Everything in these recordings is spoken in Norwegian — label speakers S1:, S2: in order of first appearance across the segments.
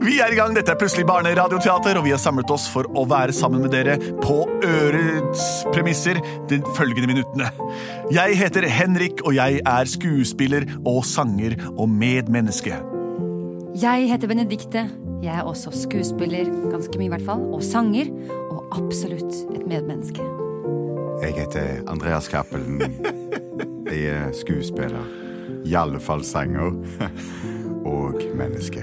S1: Vi er i gang. Dette er Plutselig barneradioteater, og vi har samlet oss for å være sammen med dere på ørets premisser de følgende minuttene. Jeg heter Henrik, og jeg er skuespiller og sanger og medmenneske.
S2: Jeg heter Benedikte. Jeg er også skuespiller, ganske mye i hvert fall, og sanger. Og absolutt et medmenneske.
S3: Jeg heter Andreas Cappelen. Jeg er skuespiller. I alle fall sanger. Og menneske.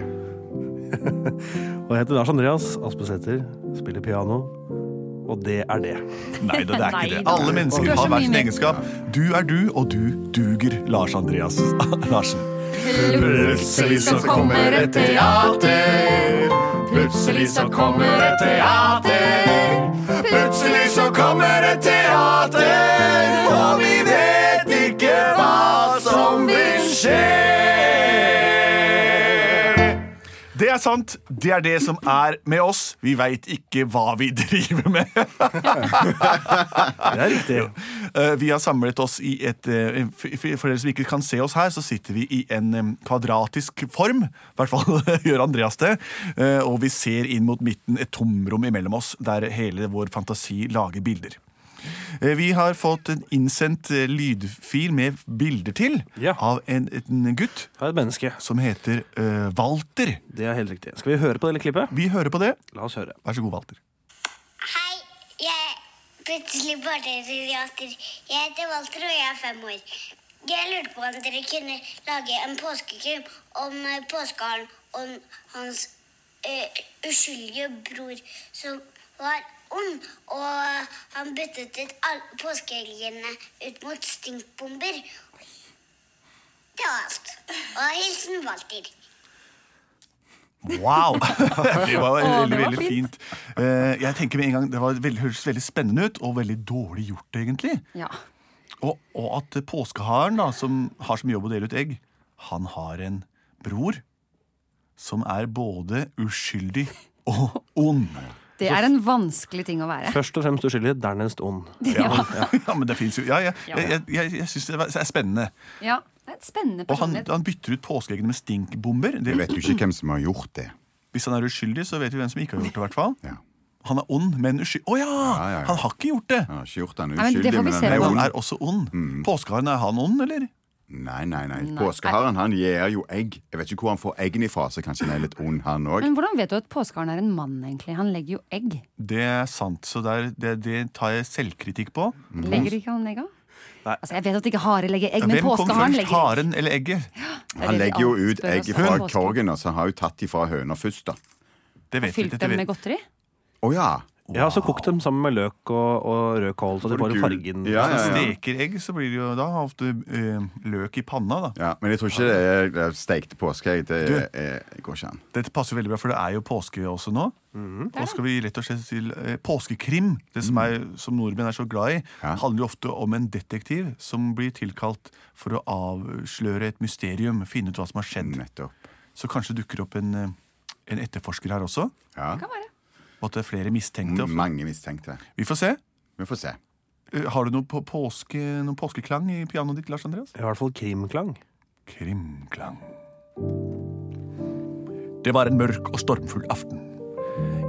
S4: Og jeg heter Lars Andreas Aspesæter, spiller piano. Og det er det.
S1: Nei, det, det er ikke det.
S2: Nei, da.
S1: Alle
S2: Du
S1: mennesker
S2: er så
S1: har hver
S2: mye
S1: sin
S2: mer.
S1: egenskap. Du er du, og du duger, Lars Andreas Larsen.
S2: Plutselig så kommer et teater. Plutselig så kommer et teater.
S1: Plutselig så kommer et teater, og vi vet ikke hva som vil skje. Det er sant. Det er det som er med oss. Vi veit ikke hva vi driver med.
S4: Det er riktig.
S1: Eh, Vi har samlet oss i et eh, For for- for dere som ikke kan se oss her, så sitter vi i en eh, kvadratisk form. I hvert fall gjør Andreas det. Eh, Og vi ser inn mot midten, et tomrom imellom oss, der hele vår fantasi lager bilder. Eh, Vi har fått en innsendt eh, lydfil med bilder til
S4: Ja.
S1: av en, en gutt
S4: Jeg er et menneske.
S1: som heter eh, Walter.
S4: Det er helt riktig. Skal vi høre på det lille klippet?
S1: Vi hører på det.
S4: La oss høre.
S1: Vær så god, Walter.
S5: Hei, jeg plutselig barneradiater. Jeg heter Walter, og jeg er fem år. Jeg lurte på om dere kunne lage en påskekrim om eh, påskeharen og hans eh, uskyldige bror som var ond, og han byttet ut all- påskeelgene ut mot stinkbomber. Det var alt. Og hilsen Walter.
S1: Wow! Det var
S2: Å, det
S1: veldig,
S2: var
S1: veldig
S2: fint.
S1: fint. Eh, Jeg tenker med en gang, Det var veldig, hørtes veldig spennende ut, og veldig dårlig gjort, egentlig.
S2: Ja.
S1: Og, og at påskeharen, da, som har som jobb å dele ut egg, han har en bror som er både uskyldig og ond.
S2: Det er en vanskelig ting å være.
S4: Først og fremst uskyldig, dernest ond.
S2: Ja.
S1: Ja, men det fins jo Ja, ja.
S2: Ja.
S1: Jeg, jeg, jeg, jeg syns det var- det er spennende.
S2: ja. Det er et spennende
S1: Og han,
S2: personlighet.
S1: han bytter ut påskeeggene med stinkbomber.
S3: Jeg
S1: Det,
S3: vet jo ikke hvem som har gjort det.
S1: hvis han er uskyldig, så vet vi hvem som ikke har gjort det. i hvert fall
S3: Ja.
S1: Han er ond, men uskyldig. Å
S3: ja, ja.
S1: ja! Han har ikke gjort det!
S3: Han har ikke gjort han
S2: Nei, men det
S3: uskyldig,
S2: får vi se
S3: han
S1: Men
S3: er
S2: da.
S1: han
S3: ond.
S1: er også ond.
S3: Mm.
S1: Påskeharen, er han ond, eller?
S3: Nei, nei, nei. Påskeharen han gir jo egg. Jeg vet ikke hvor han får eggene ifra, så kanskje han er litt ond, han òg.
S2: Men hvordan vet du at påskeharen er en mann, egentlig? Han legger jo egg.
S1: Det er sant, så der, det, det tar jeg selvkritikk på.
S2: Legger ikke han egg? da?
S4: Nei.
S2: Altså, jeg vet at ikke hare legger egg, men
S1: Hvem kom
S2: påskeharen
S1: først,
S2: legger egg.
S1: haren eller egget?
S2: Det er
S3: Han
S2: det vi
S3: legger jo
S2: alltid
S3: ut
S2: spør
S3: egg
S2: oss om
S3: fra
S2: påsken.
S3: torgene, så han har jo tatt ifra høna først, da.
S1: Det vet vi
S2: Fylt
S1: ikke. det
S2: dem med
S1: vet-
S2: godteri?
S3: Å ja.
S4: Ja, så kokt dem sammen med løk og, og rød kål, så de får
S3: gul.
S4: fargen.
S3: Ja, ja,
S1: Hvis
S3: ja.
S1: man steker egg, så blir det jo da ofte eh, løk i panna. da.
S3: ja. Men jeg tror ikke det er- det er steikte påskeegg. Det
S1: Du.
S3: er- går ikke an.
S1: Dette passer jo veldig bra, for det er jo påske også nå.
S3: Mm-hmm.
S1: Nå skal vi rett og slett til eh, påskekrim. Det som, er, som nordmenn er så glad i,
S3: Mm. Ja.
S1: handler jo ofte om en detektiv som blir tilkalt for å avsløre et mysterium, finne ut hva som har skjedd.
S3: Nettopp.
S1: Så kanskje dukker opp en, eh, en etterforsker her også,
S3: Ja.
S2: Kan være.
S1: og at det er flere mistenkte.
S3: Mange mistenkte.
S1: Vi får se.
S3: Vi får se.
S1: Eh, Har du noe på påske, noen påskeklang i pianoet ditt, Lars Andreas?
S4: I hvert fall krimklang.
S1: Krimklang. Det var en mørk og stormfull aften.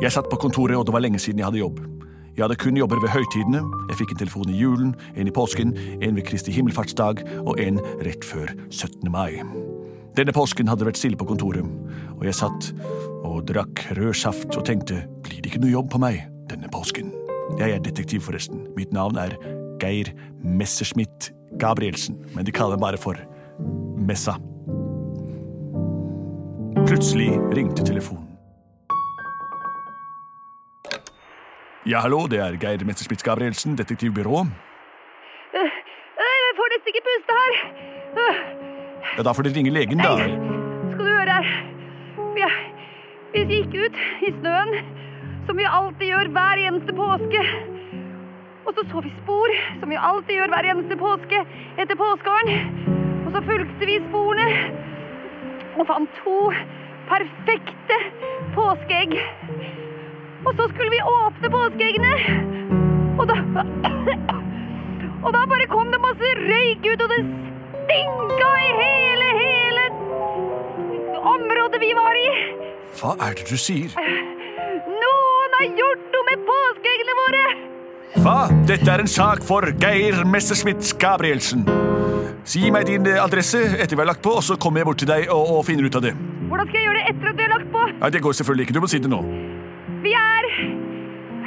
S1: Jeg satt på kontoret, og det var lenge siden jeg hadde jobb. Jeg hadde kun jobber ved høytidene. Jeg fikk en telefon i julen, en i påsken, en ved Kristi himmelfartsdag og en rett før 17. mai. Denne påsken hadde det vært stille på kontoret, og jeg satt og drakk rød saft og tenkte blir det ikke noe jobb på meg denne påsken? Jeg er detektiv, forresten. Mitt navn er Geir Messerschmitt Gabrielsen, men de kaller meg bare for Messa. Plutselig ringte telefonen. Ja, hallo, det er Geir Messerschmitt Gabrielsen, detektivbyrå.
S6: Nei, jeg får nesten ikke puste her. Øh,
S1: Ja, Da får dere ringe legen, da.
S6: Skal du høre her. Vi, vi gikk ut i snøen, som vi alltid gjør hver eneste påske. Og så så vi spor, som vi alltid gjør hver eneste påske, etter påskeharen. Og så fulgte vi sporene og fant to perfekte påskeegg. Og så skulle vi åpne påskeeggene, og da Og da bare kom det masse røyk ut, og det stinka i hele, hele området vi var i.
S1: Hva er det du sier?
S6: Noen har gjort noe med påskeeggene våre!
S1: Hva? Dette er en sak for Geir Messerschmidt Gabrielsen. Si meg din eh, adresse etter vi har lagt på, og så kommer jeg bort til deg og, og finner ut av det.
S6: Hvordan skal jeg gjøre det etter at vi har lagt på?
S1: Nei, Det går selvfølgelig ikke. Du må si det nå.
S6: Vi er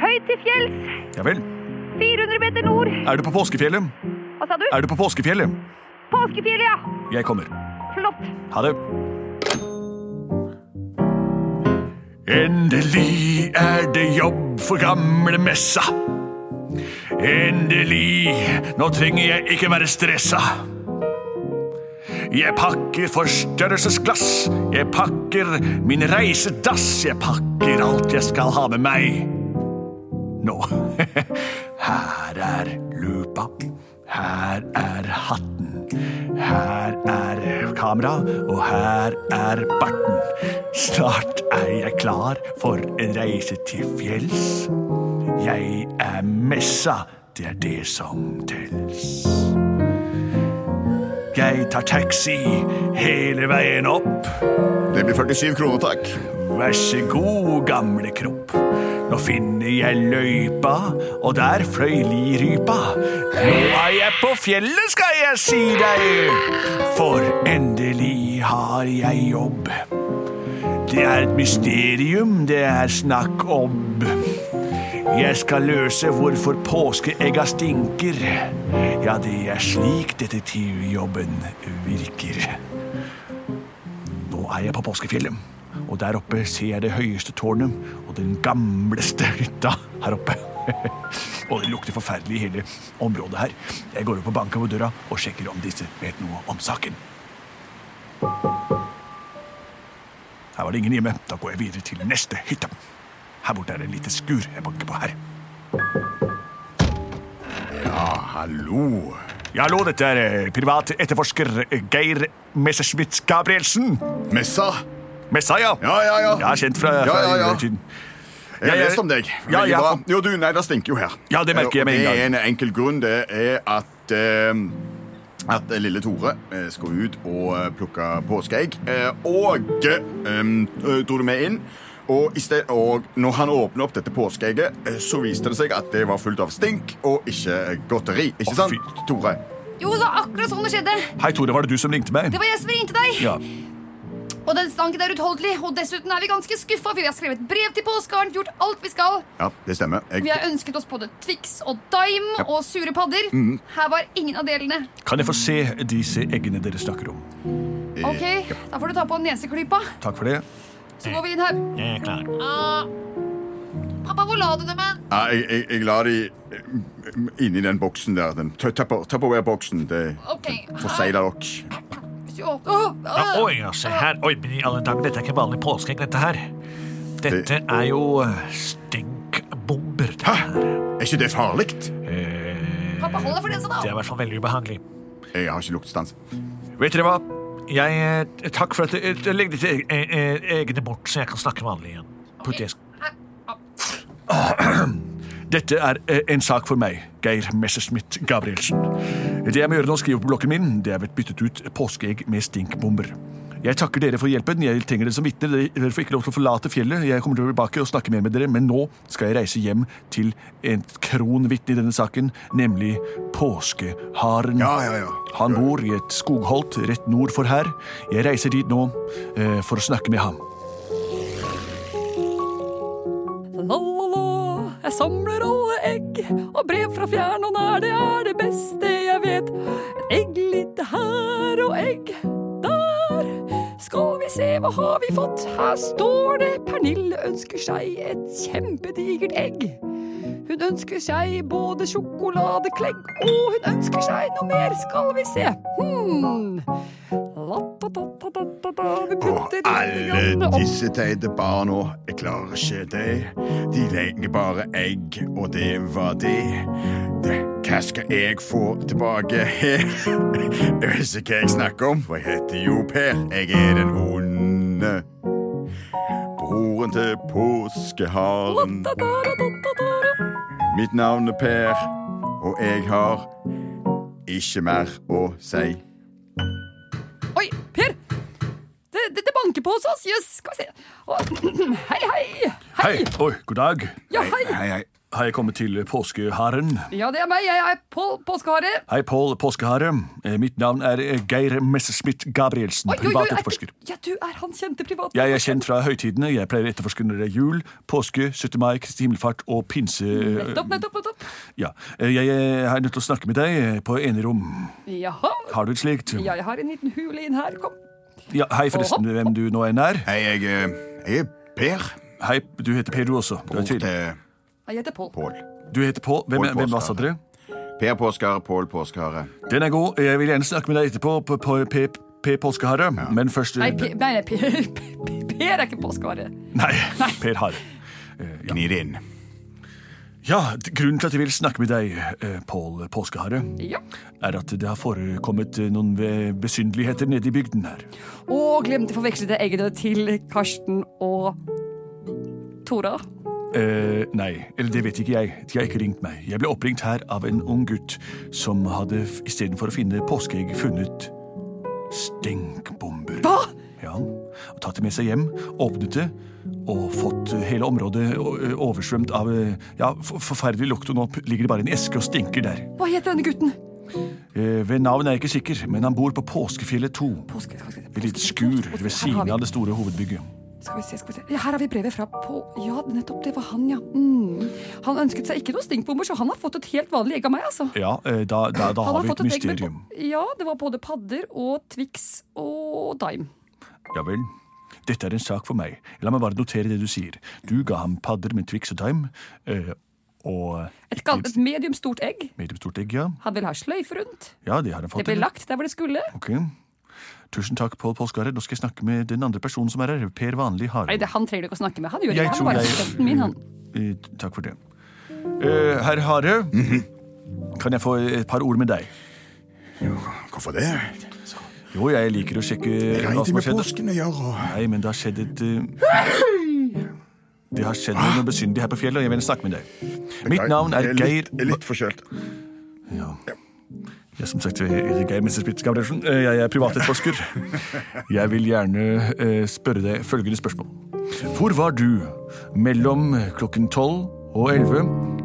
S6: høyt til fjells,
S1: Ja vel.
S6: 400 meter nord.
S1: Er du på påskefjellet?
S6: Hva sa du?
S1: Er du på påskefjellet?
S6: Påskefjellet, ja.
S1: Jeg kommer.
S6: Flott.
S1: Ha det. Endelig er det jobb for gamle messa. Endelig. Nå trenger jeg ikke være stressa. Jeg pakker forstørrelsesglass. Jeg pakker min reisedass. Jeg pakker alt jeg skal ha med meg. Nå. Her er lupa. Her er hatten. Her er kamera, og her er barten. Snart er jeg klar for en reise til fjells. Jeg er messa, det er det som tels. Jeg tar taxi hele veien opp.
S3: Det blir 47 kroner, takk.
S1: Vær så god, gamle kropp. Nå finner jeg løypa, og der fløy lirypa. Nå er jeg på fjellet, skal jeg si deg. For endelig har jeg jobb. Det er et mysterium det er snakk om. Jeg skal løse hvorfor påskeegga stinker. Ja, det er slik detektivjobben virker. Nå er jeg på påskefjellet, og der oppe ser jeg det høyeste tårnet og den gamleste hytta her oppe. og det lukter forferdelig i hele området her. Jeg går opp og banker på døra og sjekker om disse vet noe om saken. Her var det ingen hjemme. Da går jeg videre til neste hytte. Her borte er det en lite skur jeg banker på her.
S3: Hallo.
S1: Ja, hallo, dette er eh, privat etterforsker eh, Geir Messerschmidt Gabrielsen.
S3: Messa?
S1: Messa, ja.
S3: Ja, ja, ja.
S1: Jeg er kjent fra, fra
S3: Ja, ja, ja.
S1: tiden.
S3: Jeg har
S1: Jeg-
S3: lest om deg.
S1: Ja,
S3: Veldig
S1: jeg
S3: bra.
S1: har fått-
S3: Jo, du, nei, det stinker jo her.
S1: Ja, det merker jeg med en
S3: Det er
S1: gang.
S3: en enkel grunn. Det er at eh, at lille Tore eh, skal ut og eh, plukke påskeegg. Eh, og eh, eh, dro det med inn. Og, i sted, og når han åpner opp dette påskeegget, eh, så viste det seg at det var fullt av stink og ikke eh, godteri. Ikke
S1: Å,
S3: sant,
S1: fy.
S3: Tore?
S6: Jo, det var akkurat sånn det skjedde.
S1: Hei, Tore, var det du som ringte meg?
S6: Det var jeg som ringte deg.
S1: Ja.
S6: Og den stanken er utholdelig. Og dessuten er vi ganske skuffa, for vi har skrevet brev til påskeharen, gjort alt vi skal.
S3: Ja, det stemmer. Jeg,
S6: Vi har ønsket oss både Twix og Dime og sure padder.
S7: Mm.
S6: Her var ingen av delene.
S1: Kan jeg få se disse eggene dere snakker om?
S6: Ok,
S3: eh,
S6: Da får du ta på neseklypa.
S1: Takk for det.
S6: Så går vi inn her.
S7: Jeg er klar.
S6: Ah. Pappa, hvor la du dem hen?
S3: Ja, jeg, jeg, jeg la de eh, inni den boksen der. Den tø- tupper- Tupperware-boksen. Det
S6: Ok,
S3: forsegler dere.
S6: Hvis du åpner Åh,
S7: Ja,
S6: ah.
S7: oi, ja, se her. Oi, men i alle dager, dette er ikke vanlig påskeegg, dette her. Dette er jo eh, stinkbomber. det her.
S3: Er ikke det farlig?
S7: Eh,
S6: Pappa, hold deg for nesa,
S7: Det er
S6: da.
S7: i hvert fall veldig ubehagelig.
S3: Jeg har ikke luktestans.
S1: Vet dere hva?
S7: Jeg, eh, takk for at du eh, legg ditt e- e- e- egne bort, så jeg kan snakke vanlig igjen. Potetisk.
S6: Ah.
S1: Dette er eh, en sak for meg, Geir Messerschmidt Gabrielsen. Det jeg må gjøre nå, skrive på blokken min, det er blitt byttet ut påskeegg med stinkbomber. Jeg takker dere for hjelpen. Jeg trenger dere som vitner. Dere får ikke lov til å forlate fjellet. Jeg kommer tilbake og snakker mer med dere, men nå skal jeg reise hjem til en kronvitne i denne saken, nemlig påskeharen.
S3: Ja, ja, ja.
S1: Han bor i et skogholt rett nord for her. Jeg reiser dit nå eh, for å snakke med ham.
S8: La-la-la, jeg samler alle egg, og brev fra fjern og nær, det er det beste jeg vet. Et egg lite her og egg der. Skal vi se, hva har vi fått? Her står det Pernille ønsker seg et kjempedigert egg. Hun ønsker seg både sjokoladeklegg, og hun ønsker seg noe mer, skal vi se. Hmm. La-ta-ta-ta-ta-ta, vi
S3: Og
S8: putter litt
S3: alle
S8: grann opp.
S3: disse teite barna, jeg klarer ikke det. De legger bare egg, og det var det. Det- Hva skal jeg få tilbake her? Jeg vet ikke hva jeg snakker om, for jeg heter jo Per. Jeg er den onde. Broren til påskeharen. Mitt navn er Per, og jeg har ikke mer å si.
S8: Oi, Per! Det det, dette banker på hos oss. Jøss, skal vi se. Å, hei, hei. Hei.
S1: Hei. Oi, god dag.
S8: Ja, hei.
S3: Hei, hei.
S1: Har jeg kommet til påskeharen?
S8: Ja, det er meg. Jeg er Pål Påskehare.
S1: Hei, Pål Påskehare. Eh, Mitt navn er eh, Geir Messerschmidt Gabrielsen,
S8: Oi, oi, oi,
S1: privat
S8: er-
S1: etterforsker.
S8: Ja, du er han kjente privat.
S1: Jeg er kjent fra høytidene. Jeg pleier å etterforske når det er jul, påske, 17. mai, Kristi himmelfart og pinse...
S8: Nettopp, nettopp, nettopp.
S1: Ja. Eh, Jeg eh, er nødt til å snakke med deg eh, på enerom.
S8: Jaha.
S1: Har du et slikt?
S8: Ja, jeg har en liten hule inn her. Kom.
S1: Ja, hei, forresten,
S8: Oho.
S1: hvem du nå enn er.
S3: Hei, jeg, eh, jeg er Per.
S1: Hei, du heter Per, du også. Du,
S3: Bror
S1: er til.
S3: til
S8: Jeg heter Pål.
S3: Pål.
S1: du heter Pål. Hvem,
S3: Pål
S1: hvem hva sa
S3: Påskehare.
S1: dere?
S3: Per Påskehare, Pål Påskehare.
S1: Den er god. Jeg vil gjerne snakke med deg etterpå på, på P... P. Påskehare. Men først eh,
S8: Nei, P- nei, nei, Per Per er ikke påskehare.
S1: Nei, Per Hare.
S3: Gni det inn.
S1: Ja, d- grunnen til at jeg vil snakke med deg, eh, Pål Påskehare,
S8: Ja.
S1: er at det har forekommet eh, noen ve- besynderligheter nede i bygden her.
S8: Og glemte å forveksle det eggene til Karsten og Tora.
S1: Eh, nei, eller det vet ikke jeg. De har ikke ringt meg. Jeg ble oppringt her av en ung gutt som hadde f- istedenfor å finne påskeegg funnet stinkbomber.
S8: Hva?
S1: Ja, og tatt det med seg hjem, åpnet det og fått eh, hele området o- eh, oversvømt av eh, ja, f- forferdelig lukt, og nå p- ligger det bare en eske og stinker der.
S8: Hva heter denne gutten?
S1: Eh, ved navn er jeg ikke sikker, men han bor på Påskefjellet 2.
S8: Påske, påske,
S1: Et lite
S8: påske-
S1: skur
S8: påske-
S1: ved
S8: Her har
S1: siden
S8: vi-
S1: av det store hovedbygget.
S8: Skal vi se, skal vi se. Ja, her har vi brevet fra på... Ja, nettopp, det var han, ja. Mm. Han ønsket seg ikke noen stinkbomber, så han har fått et helt vanlig egg av meg, altså.
S1: Ja, eh, da, da, da
S8: Han
S1: har vi et
S8: fått egg med
S1: mysterium.
S8: bo- Ja, det var både padder og Twix og Dime.
S1: Ja vel. Dette er en sak for meg. La meg bare notere det du sier. Du ga ham padder med Twix og Time. eh, Og
S8: Et, gal- et medium stort egg.
S1: mediumstort egg, ja.
S8: Han vil ha sløyfe rundt.
S1: Ja, det har han
S8: Det
S1: fått.
S8: ble lagt der hvor det skulle.
S1: Ok. Tusen takk, Pål Påskare. Nå skal jeg snakke med den andre personen som er her. Per Vanlig
S8: Nei,
S1: Hare.
S8: det, han trenger du ikke å snakke med. Han gjør
S1: Jeg
S8: det. Han
S1: tror
S8: er bare
S1: jeg-
S8: assistenten min, han.
S1: Eh, Takk for det. Eh, Herr Hare, kan jeg få et par ord med deg?
S3: Hvorfor det?
S1: Jo, jeg liker å sjekke
S3: Det har
S1: hva som har
S3: ingenting med
S1: skjedd.
S3: påsken å gjøre.
S1: Nei, men det har skjedd et eh, Det har skjedd noe besynderlig her på fjellet, og jeg vil snakke med deg. Mitt navn er
S3: Ah. Jeg
S1: Geir
S3: litt- jeg er Litt forkjølt.
S1: Ja. Ja, som sagt, jeg er Geir Messerspitz Gabrielsen. Eh, Jeg er privatetterforsker. Jeg vil gjerne eh, spørre deg følgende spørsmål. Hvor var du mellom klokken tolv og elleve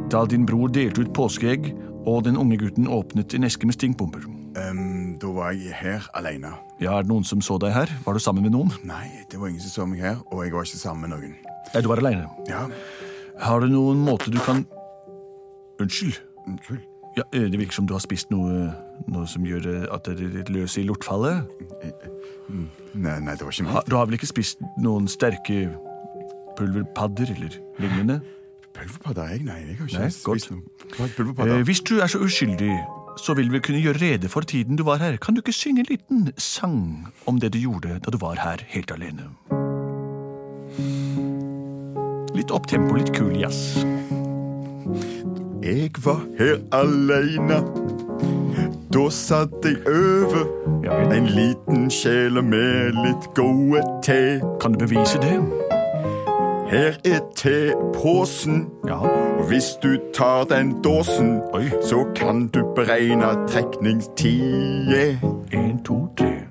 S1: da din bror delte ut påskeegg og den unge gutten åpnet en eske med stinkbomber?
S3: Ehm, da var jeg her alene.
S1: Ja, Er det noen som så deg her? Var du sammen med noen?
S3: Nei, det var ingen som så meg her, og jeg var ikke sammen med noen.
S1: Nei, du var aleine.
S3: Ja,
S1: Har du noen måte du kan Unnskyld.
S3: unnskyld.
S1: Ja, eh, Det virker som du har spist noe, noe som gjør eh, at det er litt løs i lortfallet.
S3: Nei, nei, det var ikke
S1: Ha-
S3: meg.
S1: Du har vel ikke spist noen sterke pulverpadder eller lignende?
S3: Pulverpadder, jeg? Nei, jeg har ikke
S1: Nei,
S3: spist
S1: godt.
S3: noe. Hva er
S1: Eh,
S3: Pulverpadder?
S1: hvis du er så uskyldig, så vil vi kunne gjøre rede for tiden du var her. Kan du ikke synge en liten sang om det du gjorde da du var her helt alene? Litt opptempo, litt kul jazz.
S3: Jeg var her alene. Da satt jeg over
S1: Ja vel.
S3: en liten kjele med litt gode te.
S1: Kan du bevise det?
S3: Her er tepåsen.
S1: Ja.
S3: Og hvis du tar den dåsen,
S1: Oi.
S3: så kan du beregne trekningstid.
S1: En, to, tre.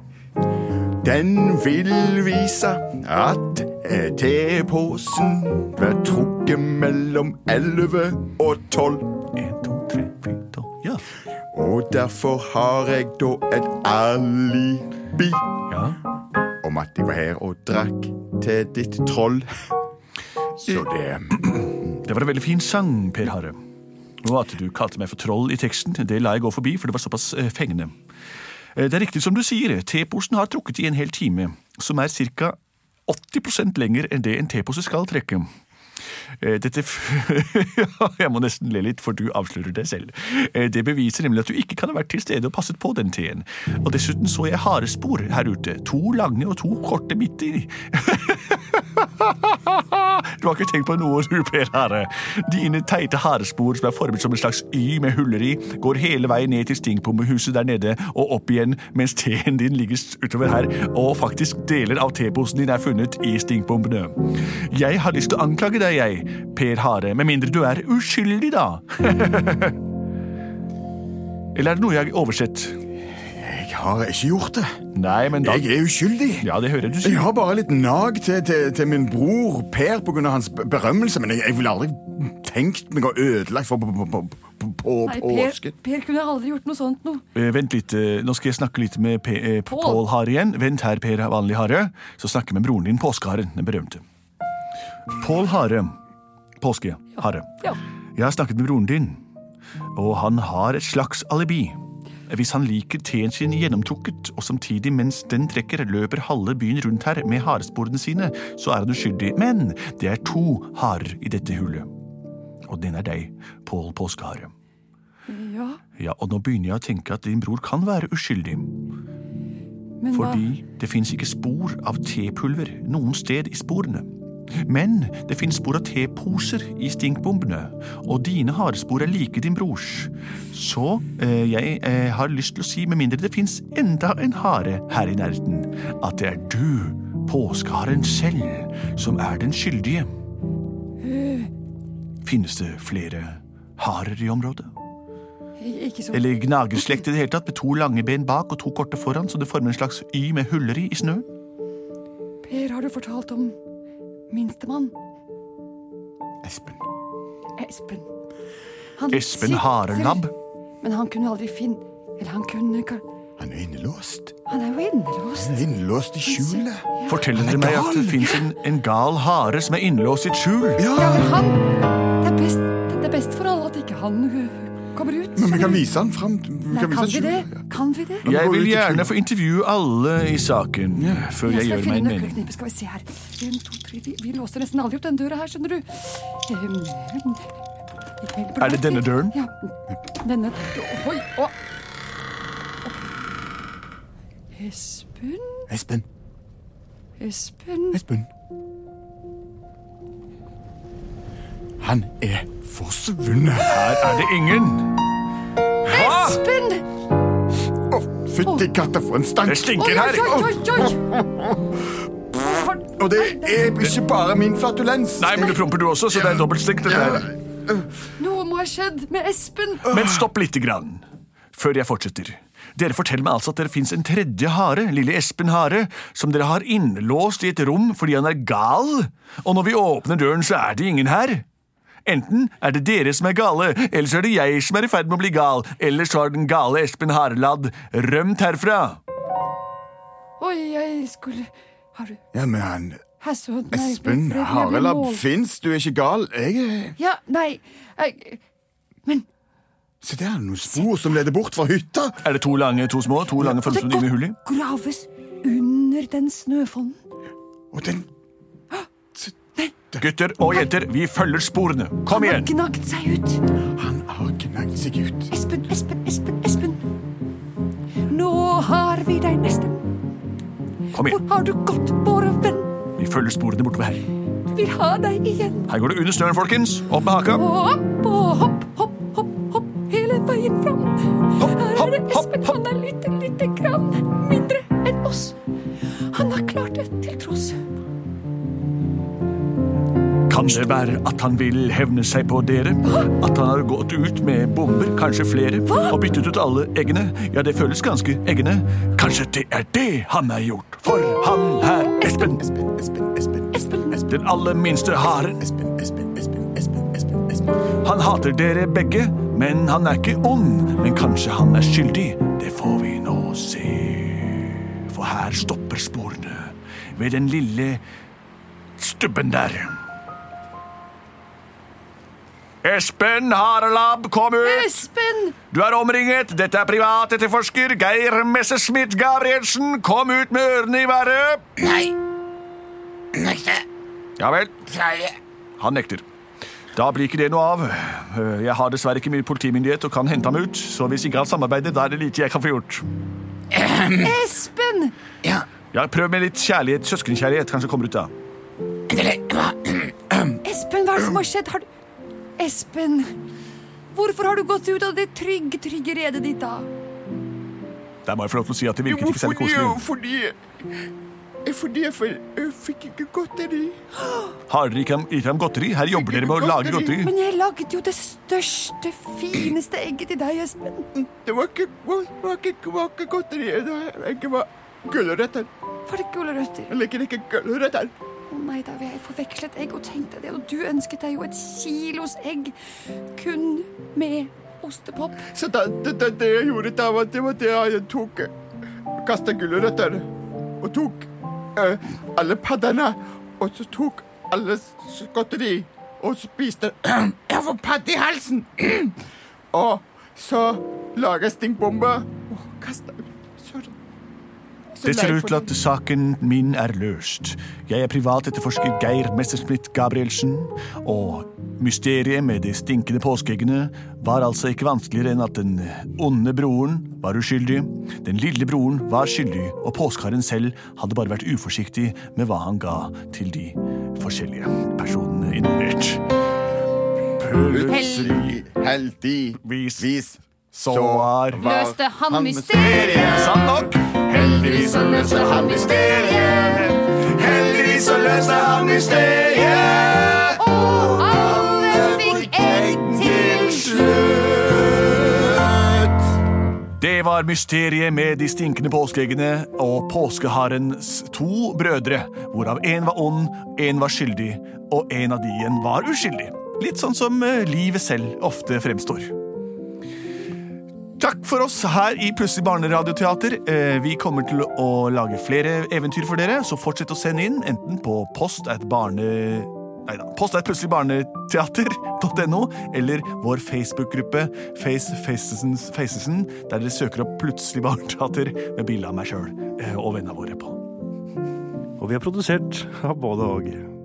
S3: Den vil vise at eh, teposen ble trukket mellom 11 og 12.
S1: En, to, tre, fire, tolv. Ja.
S3: Og derfor har jeg da et alibi
S1: ja.
S3: om at jeg var her og drakk til ditt troll. Så det
S1: Det var en veldig fin sang, Per Harre. Og at du kalte meg for troll i teksten, det la jeg gå forbi, for det var såpass eh, fengende. Eh, Det er riktig som du sier, teposen har trukket i en hel time, som er ca. 80 lenger enn det en tepose skal trekke. Eh, Dette f Ja, Jeg må nesten le litt, for du avslører deg selv. Eh, Det beviser nemlig at du ikke kan ha vært til stede og passet på den teen. Og dessuten så jeg harespor her ute. To lange og to korte midt i. Du har ikke tenkt på noe, du, Per Hare. Dine teite harespor som er formet som en slags Y med huller i, går hele veien ned til stinkpommehuset der nede og opp igjen, mens teen din ligger s- utover her, og faktisk deler av teposen din er funnet i stinkbombene. Jeg har lyst til å anklage deg, jeg, Per Hare, med mindre du er uskyldig, da. Eller er det noe jeg har oversett?
S3: Jeg har har jeg ikke gjort det.
S1: Nei, men da
S3: Jeg er uskyldig.
S1: Ja, det hører du si.
S3: Jeg har bare litt nag til, til, til min bror Per pga. hans be- berømmelse, men jeg, jeg ville aldri tenkt meg å ødelegge for på, på, på, på, på
S8: Nei, Per,
S3: påsken.
S8: per kunne aldri gjort noe sånt noe.
S1: Eh, vent litt, eh, nå skal jeg snakke litt med P eh, P-
S8: Pål.
S1: Pål Hare igjen. Vent her, Per Vanlig Hare. Så snakker jeg med broren din, Påskeharen, den berømte. Pål Hare. Påskehare.
S8: Ja.
S1: Jeg har snakket med broren din, og han har et slags alibi. Hvis han liker teen sin gjennomtrukket, og samtidig mens den trekker, løper halve byen rundt her med haresporene sine, så er han uskyldig. Men det er to harer i dette hullet. Og den er deg, Pål Påskehare.
S8: ja.
S1: Ja, og nå begynner jeg å tenke at din bror kan være uskyldig.
S8: Men
S1: Fordi det fins ikke spor av tepulver noen sted i sporene. Men det fins spor av teposer i stinkbombene, og dine harespor er like din brors. Så eh, jeg eh, har lyst til å si, med mindre det fins enda en hare her i nærheten, at det er du, påskeharen selv, som er den skyldige. Finnes det flere harer i området?
S8: hva? Ikke så
S1: Eller gnagerslekt i det hele tatt, med to lange ben bak og to korte foran, så det former en slags Y med huller i i snøen?
S8: Per, har du fortalt om minstemann
S3: Espen.
S8: Espen? Han
S1: Espen
S8: sitter-
S1: Harelabb?
S8: Men han kunne aldri finne Eller han kunne ikke
S3: Han er innelåst.
S8: Han er jo innelåst.
S3: Han er innelåst i skjulet.
S1: Forteller
S3: Han
S1: dere
S3: er
S1: meg at
S3: gal!
S1: det fins en, en gal hare som er innelåst i et skjul?
S8: Ja,
S3: Ja,
S8: men han Det er best, det er best for alle at ikke han øh, kommer ut.
S3: men vi kan vise han fram. Vi
S8: Nei,
S3: kan
S8: kan,
S3: vise
S8: vi det?
S3: skjulet.
S8: Kan vi det?
S1: Jeg
S3: går ut
S1: vil
S3: i
S1: gjerne
S3: skjul.
S1: få intervjue alle i saken før jeg
S8: skal
S1: gjør
S8: finne
S1: meg en mening.
S8: nøkkelknippet. Skal vi se her. En, to, tre, vi, vi låser nesten aldri opp den døra her, skjønner du. Um,
S1: Er det denne døren?
S8: Ja. Denne Oi! Å. Espen
S3: Espen.
S8: Espen
S3: Espen. Han er forsvunnet.
S1: Her er det ingen.
S3: Ah!
S1: Ah!
S8: Espen!
S3: Å, Fytti katta, for en stank!
S1: Det stinker
S8: Oi,
S1: her.
S8: oi, oi, oi!
S3: Å, Og det er ikke bare min flatulens.
S1: Nei, men du promper du også, så det er dobbeltstengt dette her.
S8: Noe må ha skjedd med Espen.
S1: Men stopp lite grann. Før jeg fortsetter. Dere forteller meg altså at dere fins en tredje hare, lille Espen Hare, som dere har innelåst i et rom fordi han er gal, og når vi åpner døren, så er det ingen her. Enten er det dere som er gale, eller så er det jeg som er i ferd med å bli gal, eller så har den gale Espen Hareladd rømt herfra.
S8: Oi, jeg skulle Har du
S3: Ja, men han...
S8: Hasso, nei,
S3: Espen
S8: jeg ble- jeg ble
S3: Harelabb
S8: mål.
S3: fins, du er ikke gal. Jeg eh, er
S8: Ja, nei eh, jeg,
S3: Se, der er det noen spor som leder bort fra hytta.
S1: Er det to lange, to små, to lange
S8: Det
S1: følelser
S8: kan
S1: inne i hullet?
S8: graves under den snøfolden.
S3: Og den
S1: Gutter og jenter, vi følger sporene. Kom
S8: Han har
S1: igjen!
S8: gnagd seg ut.
S3: Han har gnagd seg ut.
S8: Espen, Espen, Espen, Espen. Nå har vi deg nesten.
S1: Kom
S8: Hvor
S1: igjen.
S8: har du gått, våre venn?
S1: Vi følger sporene bortover her.
S8: Vi har deg igjen.
S1: Her går det under snøen, folkens. Opp med haka.
S8: Og opp og hopp, hopp, hopp, hopp, hele veien fram.
S1: Hopp,
S8: Her
S1: hopp,
S8: er det
S1: hopp,
S8: Espen,
S1: hopp.
S8: han er lite, lite grann mindre enn oss. Han har klart det til tross.
S1: Kan det være at han vil hevne seg på dere? At han har gått ut med bomber, kanskje flere, og byttet ut alle eggene? Ja, det føles ganske eggene. Kanskje det er det han har gjort? For han her, Espen,
S3: Espen, Espen, Espen,
S8: Espen,
S1: den aller minste haren.
S3: Espen, Espen, Espen, Espen, Espen, Espen.
S1: Han hater dere begge, men han er ikke ond. Men kanskje han er skyldig? Det får vi nå se. For her stopper sporene. Ved den lille stubben der. Espen Harelab, kom ut!
S8: Espen!
S1: Du er omringet. Dette er privatetterforsker Geir Messerschmidt Gabrielsen. Kom ut med ørene i været. Nei. Nekte. Ja vel. Han nekter. Da blir ikke det noe av. Eh, Jeg har dessverre ikke mye politimyndighet og kan hente ham ut, så hvis ikke han samarbeider, da er det lite jeg kan få gjort.
S8: Espen!
S1: Ja, Prøv med litt kjærlighet, søskenkjærlighet. Kanskje kommer ut da.
S8: Espen, hva er det som har skjedd? Har du... Espen, hvorfor har du gått ut av det trygge, trygge redet ditt da?
S1: Der må jeg få lov til å si at det virket ikke særlig
S3: Fordi,
S1: koselig.
S3: fordi
S9: Fordi jeg, for, jeg fikk ikke godteri.
S1: Har dere ikke gitt dem godteri? Her jobber dere med å lage godteri.
S8: Men jeg lagde jo det største, fineste egget til deg, Espen.
S9: Det var ikke, var, var ikke, var ikke godteri. Det var, ikke var gulrøtter.
S8: Var det gulrøtter?
S9: Jeg liker ikke gulrøtter.
S8: Å nei, da vil jeg forveksle et egg. Og tenk deg det, og du ønsket deg jo et kilos egg. Kun med ostepop.
S9: Så da, det, det, det jeg gjorde da, var, det var det jeg tok Kasta gulrøtter og tok eh, alle paddene. Og så tok alle s- godteri og spiste Jeg får padde i halsen! og så laga stinkbombe og kasta ut. Sorry. Så
S1: Det ser
S9: lei
S1: ut
S9: for
S1: til at saken min er løst. Jeg er privatetterforsker Geir Messerschmidt Gabrielsen, og mysteriet med de stinkende påskeeggene var altså ikke vanskeligere enn at den onde broren var uskyldig, den lille broren var skyldig, og påskeharen selv hadde bare vært uforsiktig med hva han ga til de forskjellige personene involvert.
S9: Plutselig, heldigvis,
S1: Vis.
S9: så
S1: var-
S2: Løste han mysteriet.
S1: Sant nok!
S9: Heldigvis så løste han mysteriet. Heldigvis så løste han mysteriet. Og
S2: alle fikk egg til
S9: slutt.
S1: Det var mysteriet med de stinkende påskeeggene og påskeharens to brødre, hvorav én var ond, én var skyldig, og en av de igjen var uskyldig. Litt sånn som eh, livet selv ofte fremstår. Takk for oss her i Plutselig barneradioteater. Eh, Vi kommer til å lage flere eventyr for dere, så fortsett å sende inn, enten på post at barne... Neida, post at plutseligbarneteater.no, eller vår Facebook-gruppe Face Facesens Facesen, der dere søker opp Plutselig barneteater med eh, bilde av meg sjøl og vennene våre på.
S4: Og vi er produsert av både og.